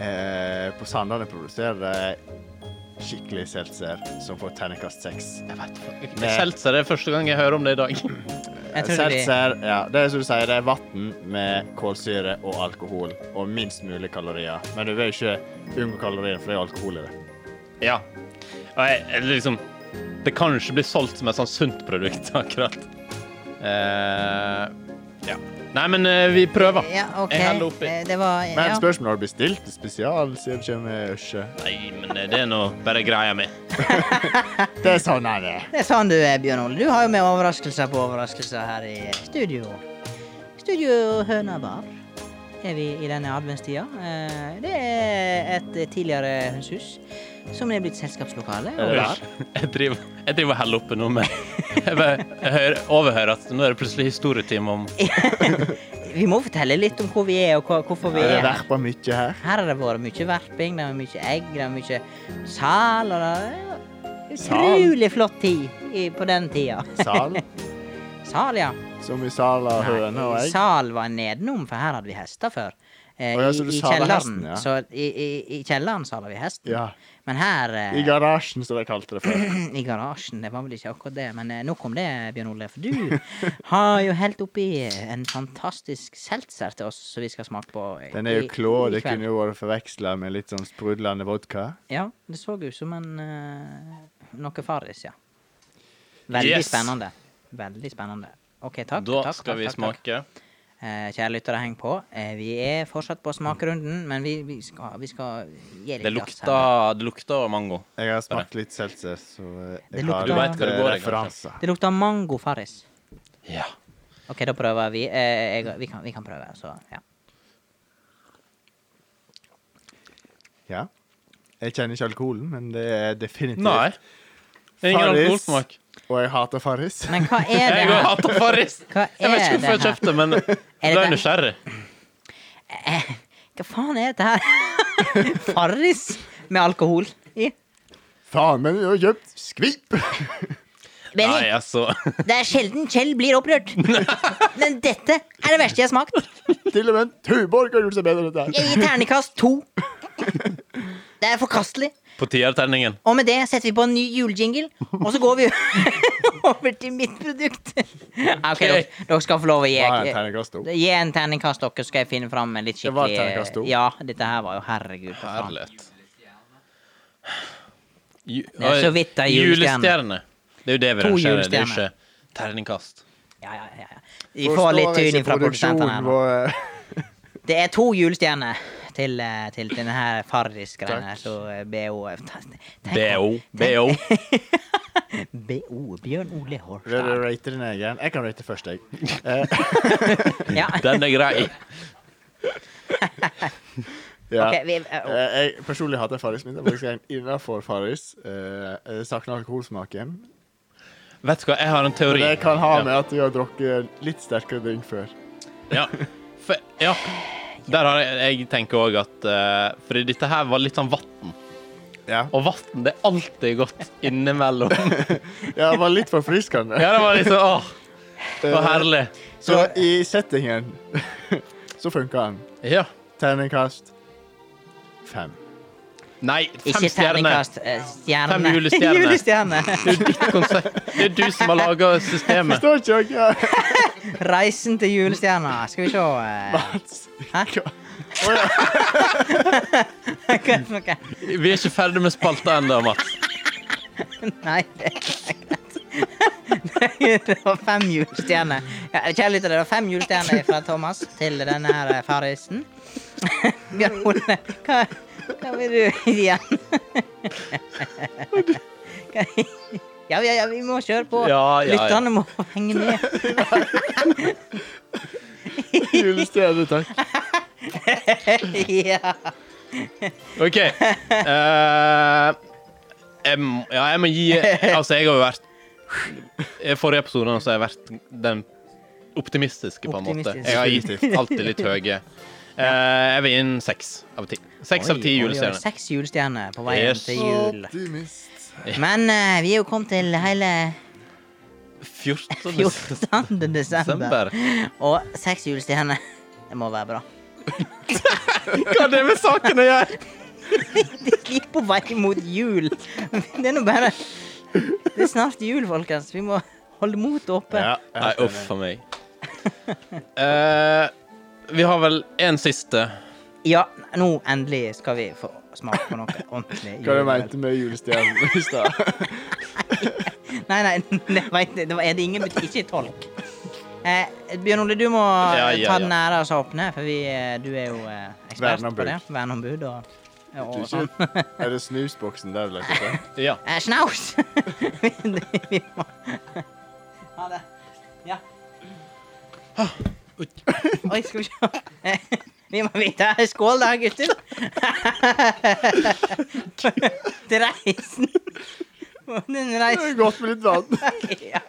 Eh, på Sandane produserer de skikkelig seltzer som får terningkast seks. Eh,
Jeg vet faen. Seltzer er første gang jeg hører om det i dag.
Jeg trodde vi
Seltzer, Eh, ja, det er som du sier, det er vann med kålsyre og alkohol og minst mulig kalorier. Men du vil ikke unngå kalorier, for det er alkohol i det.
Ja. Og jeg, eller liksom Det kan jo ikke bli solgt som et sånt sunt produkt, akkurat. Eh, ja. Nei, men eh, vi prøver.
Ja, OK.
Jeg holder oppi.
Eh, Det var
Men
ja.
spørsmålet har du bestilt spesial, sier du ikke med øsje.
Nei, men eh, det er nå bare greia mi.
Det er sånn han er.
Det er sånn du er, Bjørn Ole. Du har jo med overraskelser på overraskelser her i studio. Studio Hønabar er vi i denne adventstida. Eh, Det er et tidligere hønsehus som er blitt selskapslokale. og
det
bar.
Jeg driver, jeg driver og heller oppi noe med Jeg, bare, jeg hører, overhører at nå er det plutselig historietime om
Vi må fortelle litt om hvor vi er, og hva- hvorfor vi
Det
er
er
her.
verpa mye her.
Her har det vært mye verping, det er mye egg, det er mye sal. Og det er utrolig flott tid i, på den tida.
Sal,
Sal, ja.
som i sala høne og
Nei,
egg.
sal var nedenom, for her hadde vi hester før. Eh,
Å ja,
i,
så du
I
saler
kjelleren
hesten, ja.
Så i, i, I kjelleren sala vi hesten.
Ja.
Men her eh,
I garasjen, som de kalte det før.
I garasjen. Det var vel ikke akkurat det, men eh, nok om det, Bjørn Ole. For du har jo helt oppi en fantastisk seltzer til oss som vi skal smake på. i-
Den er
i-
jo klå,
i
det
kveld.
kunne jo vært forveksla med litt sånn sprudlende vodka.
Ja, det så ut som en eh, noe farris, ja. Veldig
Yes.
spennende. Veldig spennende. OK, takk.
Da
takk,
skal
takk,
vi
takk, takk.
smake.
Eh, Kjære lyttere, heng på. Eh, Vi er fortsatt på smakerunden, men vi, vi, skal, vi skal gi litt
Det
gass her.
lukter, det lukter mango.
Jeg har smakt litt seltzer, så eh,
Det
jeg
lukter-
har
Du vet
litt
hva det
eh,
går i, kanskje.
referanser.
Det lukter mango farris.
Ja.
OK, da prøver vi. Eh, jeg, vi, kan, vi kan prøve, så ja.
Ja. Jeg kjenner ikke alkoholen, men det er definitivt
Nei. Det er ingen
Farris.
alkoholsmak.
Og jeg hater Farris.
Men hva er det
Jeg
her?
hater Farris.
Hva
Jeg vet
er
ikke hvorfor jeg
det her?
kjøpte, men jeg ble
det-
nysgjerrig.
Eh, Hva faen er dette her? Farris med alkohol i?
Faen, men du har kjøpt skvip!
Nei,
Benny,
altså.
det er sjelden Kjell blir opprørt. Men dette er det verste jeg har smakt.
Til og med Tuborg har gjort seg bedre enn dette. her.
Jeg gir ternekast to. Det er forkastelig.
På tierterningen.
Og med det setter vi på en ny julejingle, og så går vi over til mitt produkt. OK, dere, dere skal få lov å gi,
Hva er en terningkast to?
gi en terningkast, dere, så skal jeg finne fram en litt
Det var
skikkelig
terningkast to.
Ja, dette her var jo Herregud. for faen.
Herlighet. Ju-
Det er så vidt det er julestjerne.
julestjerne. Det er jo det vi
To
rangerer. Det er jo
julestjerner.
ikke terningkast.
Ja, ja, ja, ja. Vi får litt
Forstår
tyn
ikke
fra produsentene her.
produksjonen
nå.
vår.
Det er to julestjerner til, eh, til denne her farris-greiene. Så eh, BO eh, tenk-
BO. BO.
BO. Bjørn Ole
Vil du
Horstad.
rate din egen? Jeg kan rate først, jeg. Eh,
Ja.
Den er grei.
ja.
Ok, vi-
Eh, jeg personlig hater Farris. Min er faktisk en innafor Farris. Eh, jeg savner alkoholsmaken.
Vet du hva, jeg har en
Men
teori.
Det kan ha
Ja.
med at du har drukket litt sterkere drink før.
Ja. For, ja. Der har jeg, jeg tenker òg at eh, Fordi dette her var litt sånn vann.
Ja.
Og vann er alltid godt innimellom.
Ja, det var litt forfriskende.
Ja, det var liksom Åh, det
Eh.
var herlig.
Så i settingen så funka den.
Ja.
Terningkast fem.
Nei, fem
Ikke
stjerner.
terningkast. eh, Stjerne.
Fem julestjerner.
julestjerne.
Det er jo ditt konsept. Det er du som har laga systemet.
Forstår ikke dere?
Reisen til julestjerna. Skal vi se eh, Hæ? Hva er det for noe?
Vi er ikke ferdig med spalta ennå, Mats.
Nei, det er greit. Det var fem julestjerner. Ja, Kjære lyttere, det var fem julestjerner fra Thomas til denne her eh, farrisen. Bjørn Ole, hva, hva vil du gi igjen? Hva- Ja, ja, ja, vi må kjøre på.
Ja, ja, ja.
Lytterne må henge med.
Julestjerne, takk.
ja.
OK. eh, jeg, må- ja, jeg må gi Altså, jeg har jo vært I forrige episode så har jeg vært den optimistiske, på en måte.
Optimistisk.
Jeg har gitt alltid litt høye. Eh, jeg vil gi en seks av ti. Seks av ti
Oi, oi, oi,
julestjerner.
Seks julestjerner på veien
Yes.
til jul.
Optimist.
Men eh, vi er jo kommet til hele
14.
14. desember.
desember.
Og seks julestjerner. Det må være bra.
Hva har det med saken å gjøre?
Det er litt på vei mot jul. Det er nå bare Det er snart jul, folkens. Vi må holde motet oppe.
Ja,
Nei, uff for meg. Eh, vi har vel en siste.
Ja, nå endelig skal vi få smake på noe ordentlig.
Hva er det du
juleøl.
mente med julestjernen i stad?
Nei, nei, det, vet, jeg. det var- er det ingen butikk, ikke tolk. Eh, Bjørn Ole, du må eh,
Ja, ja,
ta den
ja.
æra som åpner, for vi, eh, du er jo eh, ekspert
Verneombud.
på det. Verneombud og, og
Du,
sånn.
ikke- Er det snusboksen der du leter etter?
Ja.
Eh, Snaus! vi, vi må Ha det. Ja.
Oi.
Oi, skal vi se. Eh, Vi må vite. Skål da, gutter. Til reisen. Den
Det
reisen.
er godt med litt vann.
Ja.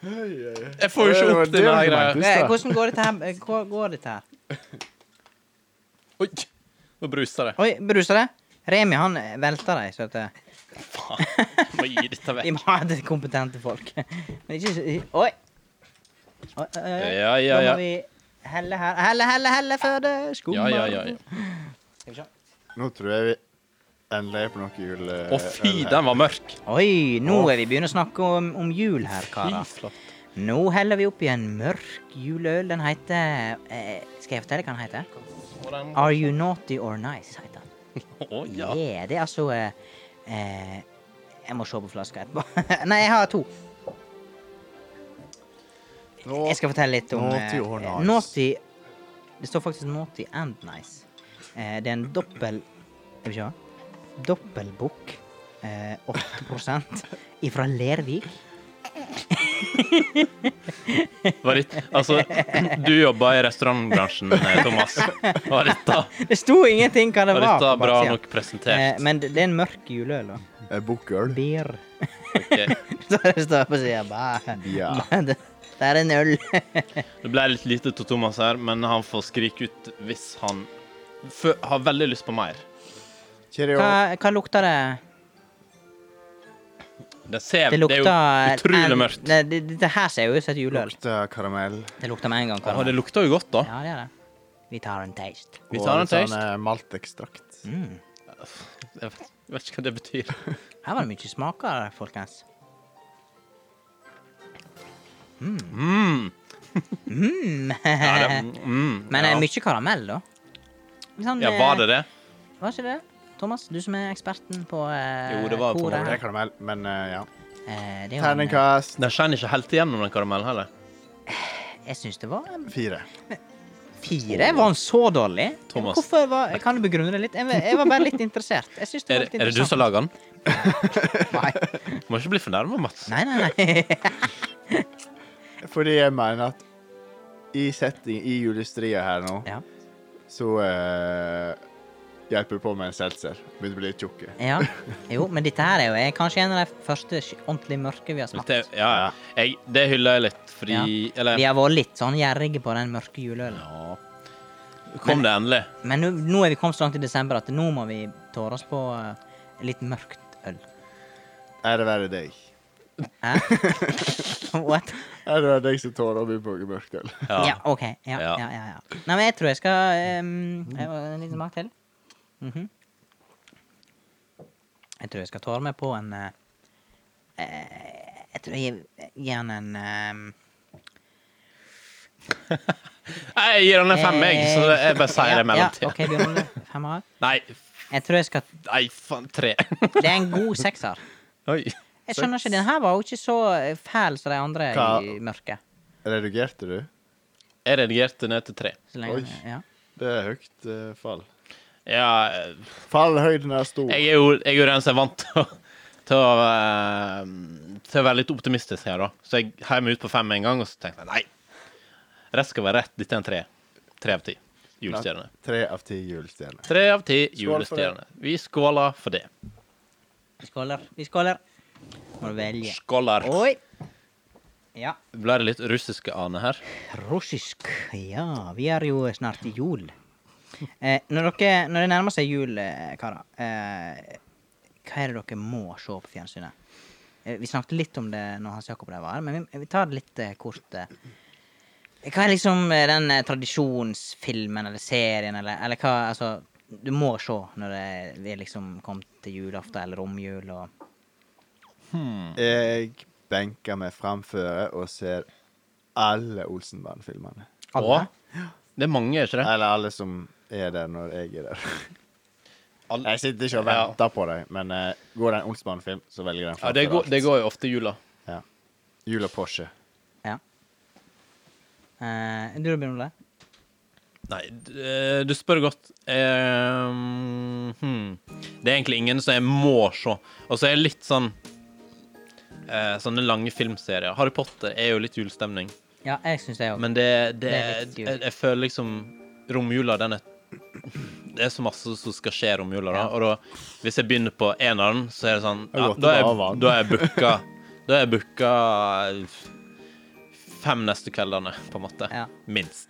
Jeg får jo
Det
ikke
var
opp
det
denne
var
her
argumentet.
greia.
Eh, Hvordan går dette her? Eh, Hva går dette her?
Oi, nå bruser det.
Oi, bruser det? Remi, han eh, velter deg, så at eh,
Må gi dette
Vi
vekk.
må ha det kompetente folk. Men ikke så Oi! Oi, oi, oi.
Ja, ja,
Da
ja.
må vi helle her. Helle, helle, helle før det skummer.
Ja, ja, ja. ja.
Nå tror jeg vi endelig er på noe jul... eh,
Å, fy,
eller-
den var mørk.
Oi, nå er vi begynner å snakke om, om jul her,
Fy
karer.
flate.
Nå heller vi opp i en mørk juleøl. Den heter eh, Skal jeg fortelle hva den heter?
Og den-
Are you naughty or nice, heter den.
Å, ja.
Yeah, det er altså eh, eh, Jeg må se på flaska etterpå. Nei, jeg har to.
Nå-
Jeg skal fortelle litt om
Naughty
eh,
or nice?
Naughty Det står faktisk Naughty and Nice. Eh, det er en dobbel Skal vi se. Dobbelbukk. Eh, 8 ifra Lervik.
Var det, altså, du jobba i restaurantbransjen, eh, Thomas. Var dette,
Det sto ingenting hva det
var
var.
dette
på
bra
baksiden.
nok
Eh,
presentert?
men det det er en mørk juleøl, da.
Eh, Bukkøl.
Beer.
Ok.
Så det står på sida. Bæ.
Ja.
Bæ, Det det er en øl.
Det ble litt lite til Thomas her, men han får skrike ut hvis han fø- har veldig lyst på mer.
Cheerio.
Hva, hva lukter det?
Det, ser,
Det
det
lukter
er jo utrolig
en-
mørkt.
Nei, det- Dette her ser jo ut som et juleøl.
Lukter karamell.
Det lukter med en gang.
Å,
karamell.
det lukter jo godt, da.
Ja, det er det. Vi tar en taste.
Vi tar
Og
en
litt
taste.
sånn eh, maltekstrakt.
Jeg vet- jeg vet ikke hva det betyr.
Her var det mye smaker, folkens.
Mm.
Mm.
Ja, det, mm,
Men det
ja.
er mye karamell, da. Litt Sånn,
ja, var det det?
eh, Var ikke det? Thomas, du som er eksperten på eh,
Jo, det var på
koret
Ja.
Det er
her.
karamell, men eh, ja.
Eh, det er jo en, eh,
Terningkast
Den skinner ikke helt igjennom, den karamellen heller.
jeg syns det var en
fire.
Fire? Var han så dårlig?
Thomas.
Hvorfor var, kan du begrunne det litt? Jeg, jeg var bare litt interessert. Jeg synes det
Er,
var litt
det- er det du som lager
interessant.
den?
Nei.
Må ikke bli fornærma, Mats.
Nei, nei, nei.
Fordi jeg mener at i setting, i julestria her nå,
Ja.
så eh, hjelper du på med en seltzer. Begynner å bli litt tjukke.
ja. Jo, men dette her er jo er kanskje en av de første sk- ordentlig mørke vi har smakt.
Det, ja, ja. Jeg, det hyller jeg litt, fordi
Ja.
Eller
Vi har vært litt sånn gjerrige på den mørke juleølen.
ja. Kom det endelig?
Men nå, nå er vi kommet så langt i desember at nå må vi tåre oss på eh, litt mørkt øl.
Er det verre deg?
Hæ? What?
Er det verre deg som tåler å begynne på mørkt øl?
Ja,
Ja.
OK. Ja, ja,
Ja.
ja, ja. Nei, men jeg tror jeg skal ehm, jeg må- En liten smak til. Mhm. Jeg tror jeg skal tåre meg på en eh, eh, Jeg tror jeg gir- gir han en ehm,
Nei, Jeg gir den en fem, jeg, så jeg bare sier det i
Eh, ja,
mellomtida.
Ja, ok, Bjørn Ole. Femmer.
Nei, f-
Jeg tror jeg skal
nei, faen, tre.
Det er en god sekser.
Oi.
Jeg skjønner ikke, Den her var jo ikke så fæl som de andre i
Hva-
mørket.
Redigerte du?
Jeg redigerte ned til tre.
Så lenge,
Oi.
ja.
Det er høyt eh, fall.
Ja, eh,
Fallhøyden er stor.
jeg er jo, jeg er jo den som er vant til å til å, eh, til å være litt optimistisk her, da. Så jeg heiv meg ut på fem med en gang, og så tenkte jeg nei. Rett skal være rett. Dette er en tre. Tre av ti. julestjerne.
Tre av ti julestjerner.
Tre av ti
Skål for det.
julestjerne. Vi skåler for det.
Skåler. Vi skåler. Må du velge.
Skåler.
Oi. Ja.
Ble det litt russiske ane her?
Russisk. Ja, vi er jo snart i jul. Eh, når, dere, når det nærmer seg jul, eh, karer, eh, hva er det dere må se på fjernsynet? Eh, vi snakket litt om det når Hans Jakob der var her, men vi, vi tar det litt eh, kort. Eh. Hva er liksom eh, den eh, tradisjonsfilmen eller serien eller, eller hva altså, du må se når det, vi er liksom kommet til julaften eller romjul og
Mm.
Jeg benker meg framføre og ser alle Olsenband-filmene.
alle?
Å, det er mange, er ikke det?
Eller alle som er der når jeg er der.
Alle-
Jeg sitter ikke og
Ja.
venter på dem, men eh, går det en Olsenband-film, så velger jeg den.
Ja, det
framfor
går,
alt.
det går jo ofte i jula.
Ja. Jul og Porsche.
Ja. Eh, du, Robin Ole?
Nei, d- eh, du spør godt. Ehm, hmm. Det er egentlig ingen som jeg må se. Og så er jeg litt sånn eh, Sånne lange filmserier. Harry Potter er jo litt julestemning.
Ja, jeg syns det òg.
Men det, det,
Det er litt
jeg,
jul.
jeg føler liksom Romjula, den er Det er så masse som skal skje i romjula, da. Og da, hvis jeg begynner på eneren, så er det sånn
Det er
ja,
godt
Da
å
er
være
jeg-
van.
da er jeg booka Da er jeg booka eh, fem neste kveldene, på en måte.
Ja.
Minst.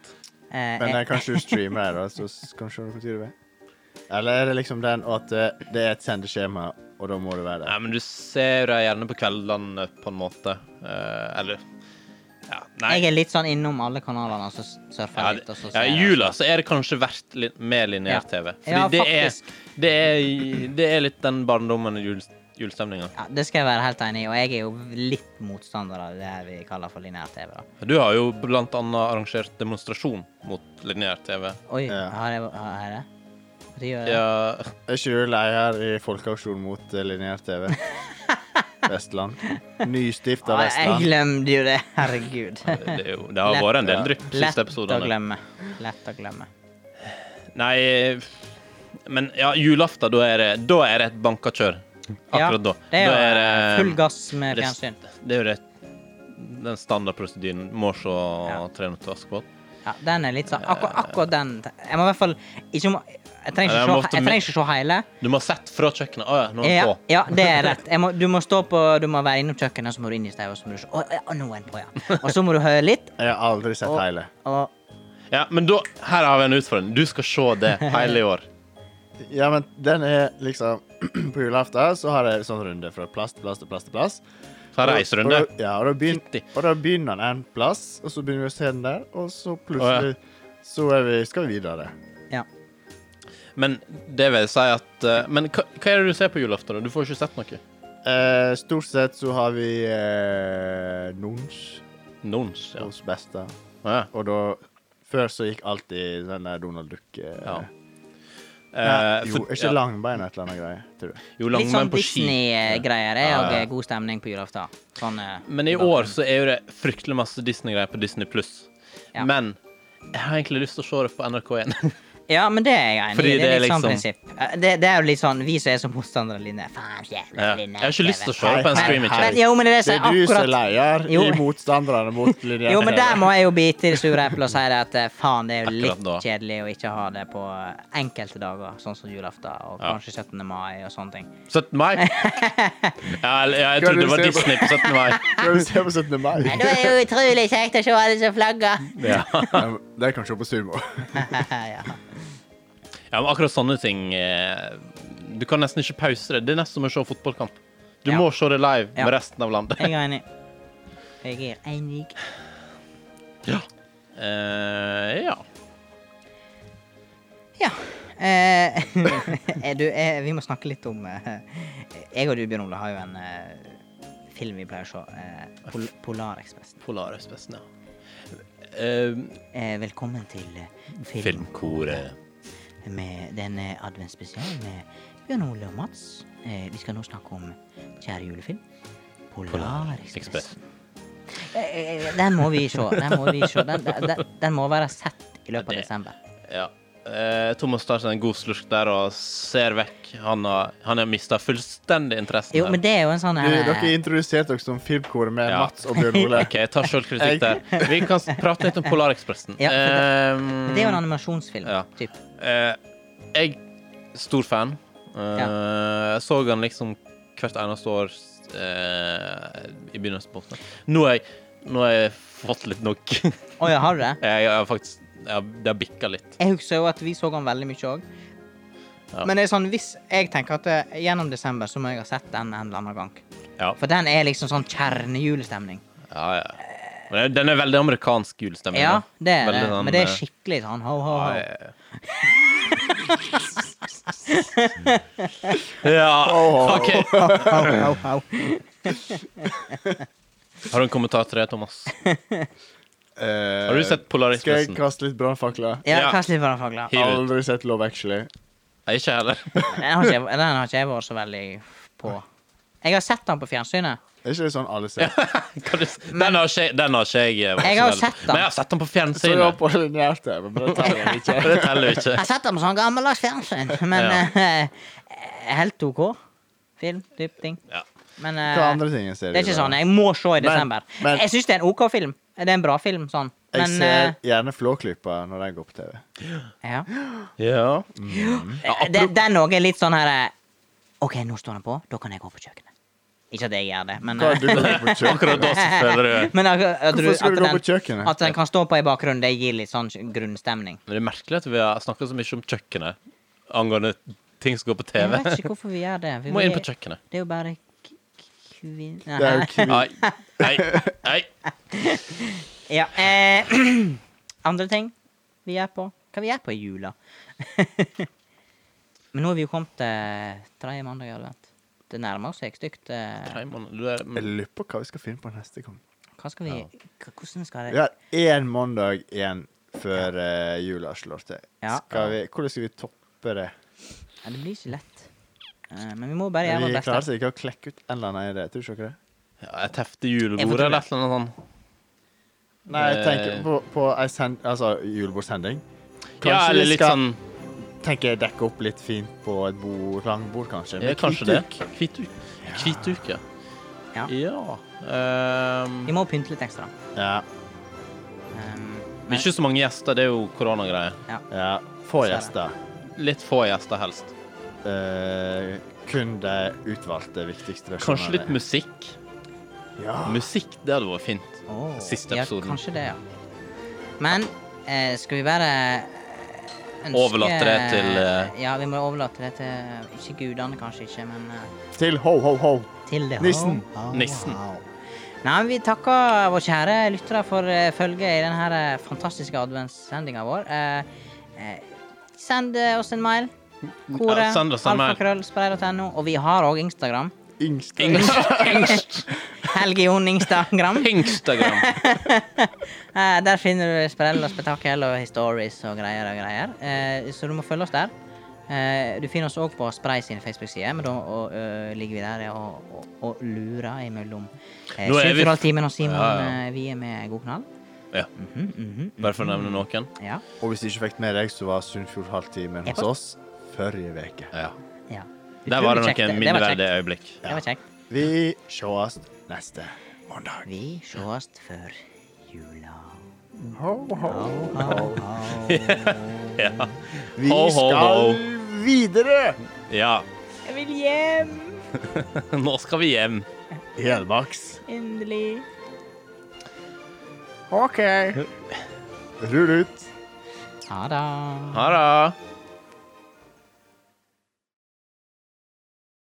Eh,
Men eh,
jeg-
kanskje du streamer det, da, så s- kanskje du når du vil. Eller er det liksom den at eh, det er et sendeskjema, og da må du være
Nei,
der?
men du ser deg gjerne på kveldene, på en måte. Eh, eller Ja, nei.
Jeg er litt sånn innom alle kanalene og så s- surfer
Ja,
jeg
det-
litt. Og så
ja,
ser
I
jeg-
jula så er det kanskje verdt litt mer
Ja.
lineær TV. Fordi
Ja,
det, er,
faktisk.
det, er, det er litt den barndommen og jul, julestemninga.
Ja, det skal jeg være helt enig i, og jeg er jo litt motstander av det her vi kaller for lineær-TV. da.
Du har jo blant annet arrangert demonstrasjon mot lineær TV.
Oi,
Ja.
har jeg har jeg det? Når gjør jeg det?
Ja,
Er ikke du lei her i Folkeaksjon mot eh, lineær TV? Vestland. Nystifta
Ah, jeg
Vestland.
glemte jo det, herregud.
det, er jo, det har vært en del drypp
Lett
siste
å
episodene.
glemme. Lett å glemme.
Nei, men ja, julaften, da er det, da er det et banka kjør.
Ja,
Akkurat da.
Det er jo
da
eh,
det-
full gass med
Det-
fjernsyn.
Det er jo det den standardprosedyren. Må se
Ja.
Tre nøtter til Askepott.
Ja, den er litt sånn Akkurat, akkurat den Jeg må i hvert fall ikke må, Jeg trenger
Ja, jeg
ikke, se,
måtte
jeg trenger ikke se hele.
Du må ha sett fra kjøkkenet. Å ja, nå er den
Ja,
på.
ja, det er rett. Jeg må, du må stå på, du må være innom kjøkkenet, så må du inn i sted, og så må du se Å, ja, nå er den på, ja. Og så må du høre litt,
Jeg har aldri sett
Og-
hele.
og
Ja, men da, her har vi en utfordring. Du skal se det hele i år.
Ja, men den er liksom På julaften så har jeg sånn runde fra plass til plass til plass til plass.
Ta
Og-
reiserunde.
Og, da- ja, og da, begyn,
Fitti.
og da begynner den en plass, og så begynner vi å se den der, og så plutselig så er vi, skal vi videre.
Ja.
Men det vil si at eh, Men hva, hva er det du ser på julaften? da? Du får ikke sett noe.
Eh, stort sett så har vi eh, Nons
Nons, ja.
hos Besta.
Å, ja.
Og da Før så gikk alltid den der Donald Duck eh,
Ja.
nei,
Eh,
Jo,
for-
er ikke langbein et eller annet greie, tror jeg.
Jo,
Litt
langmenn
sånn
på ski.
Disney-greier er
Ja,
òg
ja.
god stemning på julaften. Sånn, eh,
Men i år så er jo det fryktelig masse Disney-greier på Disney pluss.
Ja.
Men jeg har egentlig lyst til å se det på NRK1.
Ja, men det er jeg enig i.
Fordi
Det er
det er
litt sånn
liksom-
prinsipp. Eh, Det, det er jo litt sånn Vi som er så motstandere av linje Faen, jævla
Ja. Jeg
linje.
har ikke lyst til å se det
Hei,
på en
hei,
streaming.
hei.
tjeneste.
Men jo, men det er det
Det
som
er du som er
akkurat
leier
Jo.
i motstanderne mot linjen.
Jo, men der må jeg jo bite i det sure eplet og si det at eh, faen, det er jo
Akkurat
litt
da.
kjedelig å ikke ha det på enkelte dager, sånn som julaften og
Ja.
kanskje 17. mai og sånne ting.
17. mai? Ja, eller- ja, jeg trodde det var Disney på 17. mai.
Skal vi se på 17. mai?
Men det er jo utrolig kjekt å se alle som flagger.
Ja.
Ja, Det kan du se på sumo.
ja.
ja, men akkurat sånne ting eh, Du kan nesten ikke pause det. Det er nesten som å se fotballkamp. Du
Ja.
må se det live
Ja.
med resten av landet.
Jeg er enig. Jeg er enig.
Eh, ja.
Ja. Eh, eh, du, eh, vi må snakke litt om eh, Jeg og du, Bjørn Ole, har jo en eh, film vi pleier å se. Eh, Pol Polarekspressen.
Polarisbesten, ja. Eh,
Eh, velkommen til eh, film,
Filmkoret.
med den eh, adventsspesialen med Bjørn Ole og Mats. Eh, vi skal nå snakke om kjære julefilm. Polarekspressen. Eh, eh, den må vi se. Den må vi se. Den, den, den må være sett i løpet av
Det-
desember.
Ja. Eh, Thomas tar seg en god slurk der og ser vekk. Han har, han har mista fullstendig interessen.
Jo,
her.
men det er jo en sånn
Du,
her
dere introduserte dere som filmkoret med
Ja.
Mats og Bjørn Ole.
OK, jeg tar sjølkritikk der. Vi kan s- prate litt om Polarekspressen.
Ja, for
Ehm,
eh, Det er jo en animasjonsfilm.
Ja.
Typ.
Eh, jeg stor fan. Eh, Jeg så han liksom hvert eneste år eh, i begynnelsen på åttende. Nå har jeg, nå har jeg fått litt nok. jeg,
Å ja, har du det?
jeg har faktisk jeg, har- Det har bikka litt.
Jeg husker jo at vi så han veldig mye òg.
Ja.
Men det er sånn, hvis jeg tenker at eh, gjennom desember så må jeg ha sett den en eller annen gang.
Ja.
For den er liksom sånn kjernejulestemning.
Ja, ja. Men den er veldig amerikansk julestemning.
Ja,
da.
det er det.
Veldig sånn,
Men det er
eh,
skikkelig sånn ho, ho,
ja,
ho.
ja, ja. ja, OK.
ho, ho, ho.
Har du en kommentar til det, Thomas?
Eh,
Har du sett
Skal jeg
Polarispressen?
kaste litt brannfakler?
Ja,
Ja.
hva slipper den fagla?
Hiv ut.
Aldri sett Love Actually.
Nei, Ikke jeg heller.
Den har ikke, jeg- den har ikke jeg vært så veldig på. Jeg har sett den på fjernsynet.
Er ikke det sånn alle ser?
Kan du, s- den, har ikke, den har ikke jeg vært
Jeg har jo
så veldig-
sett den.
Men jeg har sett den på
Så vi var
fjernsynet.
på lineært her, men det tar jeg ikke.
Det teller jo
Jeg
ikke.
har sett den på sånn gammeldags fjernsyn, men eh, helt OK. Film, typ ting.
Ja.
Men eh,
Hva andre ting jeg ser?
det
i
er ikke
dag?
sånn jeg må se i
Men-
desember.
men-
jeg syns det er en OK film. Det er en bra film, sånn.
Jeg
Men
ser
eh,
gjerne Flåklypa når den går på TV.
ja.
Ja.
Den- Den òg er litt sånn her eh, OK, nå står den på. Da kan jeg gå på kjøkkenet. Ikke at jeg gjør det, men
Hva
eh,
er du går på
Akkurat
kjøkkenet?
da så føler du
Men at, at, du,
Hvorfor skal
at,
du gå på
den,
kjøkkenet?
at den kan stå på i bakgrunnen, det gir litt sånn grunnstemning.
Men det er merkelig at vi har snakket så mye om kjøkkenet angående ting som går på
Jeg
TV.
vet ikke hvorfor vi gjør det. Vi,
Vi må inn på
vi-
kjøkkenet.
det er jo bare k- kvin...
Det er jo kvin-
Nei, nei, nei.
Ja. Eh, andre ting vi gjør på Hva vi gjør på i jula? Men nå er vi jo kommet til tredje mandag i advent. Det nærmer seg stygt. eh,
Nei, mann, du er
Jeg lurer på hva vi skal finne på neste gang.
Hva skal vi k- Hvordan skal
Vi
det
har én mandag igjen før eh, jula slår til.
Ja.
Skal vi, hvordan skal vi toppe det?
Ja, Det blir ikke lett. Eh, Men vi må bare
Vi
gjøre vårt
klarer
beste.
seg ikke å klekke ut en eller annen idé. Tror du ikke det?
ja, et heftig
Jeg får
julebord
tro
eller
det.
et eller annet sånt.
Nei, jeg tenker
Eh.
på, på ei send, altså, julebordsending. Kanskje
Ja, eller
vi
litt
skal
sånn
tenke dekke opp litt fint på et bord, langbord, kanskje.
ja,
Med
Kanskje det.
hvitduk.
Hvitduk. Hvitduk, ja.
Ja.
Ja. ehm,
Vi må pynte litt ekstra.
Ja,
Um,
det er ikke så mange gjester, det er jo koronagreier.
ja. Få
Så er det.
gjester.
Litt få gjester helst.
Eh, kun de utvalgte viktigste versjonene.
Sånn
Kanskje litt musikk.
Ja.
Musikk, det hadde vært fint.
Åh,
Siste episoden.
Ja, kanskje det, ja. Men eh, skal vi bare eh, ønske
Overlate det til, eh,
Ja, vi må overlate det til Ikke gudene, kanskje ikke, men eh,
Til ho, ho, ho.
til det.
Nissen.
Ho, ho,
Nissen.
ho. Nei, men Vi takker våre kjære lyttere for eh, følget i denne fantastiske adventssendinga vår. Eh, eh, send eh, oss en mail.
Ja,
Koret.
send oss en mail.
Alfakrøllspray.no. Og vi har òg Instagram.
Yngst.
Helge Jon Instagram.
Instagram.
Eh, der finner du sprell og spetakkel og stories og greier og greier. Eh, så du må følge oss der. Eh, du finner oss òg på Spray sine Facebook-sider, men da og, eh, ligger vi der og, og, og lurer imellom. Eh,
Nå er vi-
Skyterdaltimen og Simon
Ja, ja.
eh, vi er med god knall.
Ja.
Mhm, mhm,
Bare for å nevne noen.
ja,
Og hvis du ikke fikk med deg, så var Sunnfjord halvtimen hos oss forrige uke.
Ja.
ja.
Der var det
Utrolig kjekt.
noen
Det var kjekt.
minneverdige øyeblikk.
Det var kjekt.
Vi sees neste mandag.
Vi sees før jula.
Ho, ho, ho.
Ja.
Vi
Ho, ho, ho.
skal videre!
ja.
Jeg vil hjem!
Nå skal vi hjem.
Helmaks.
Endelig.
OK. Rull ut.
Ha det.
Ha det.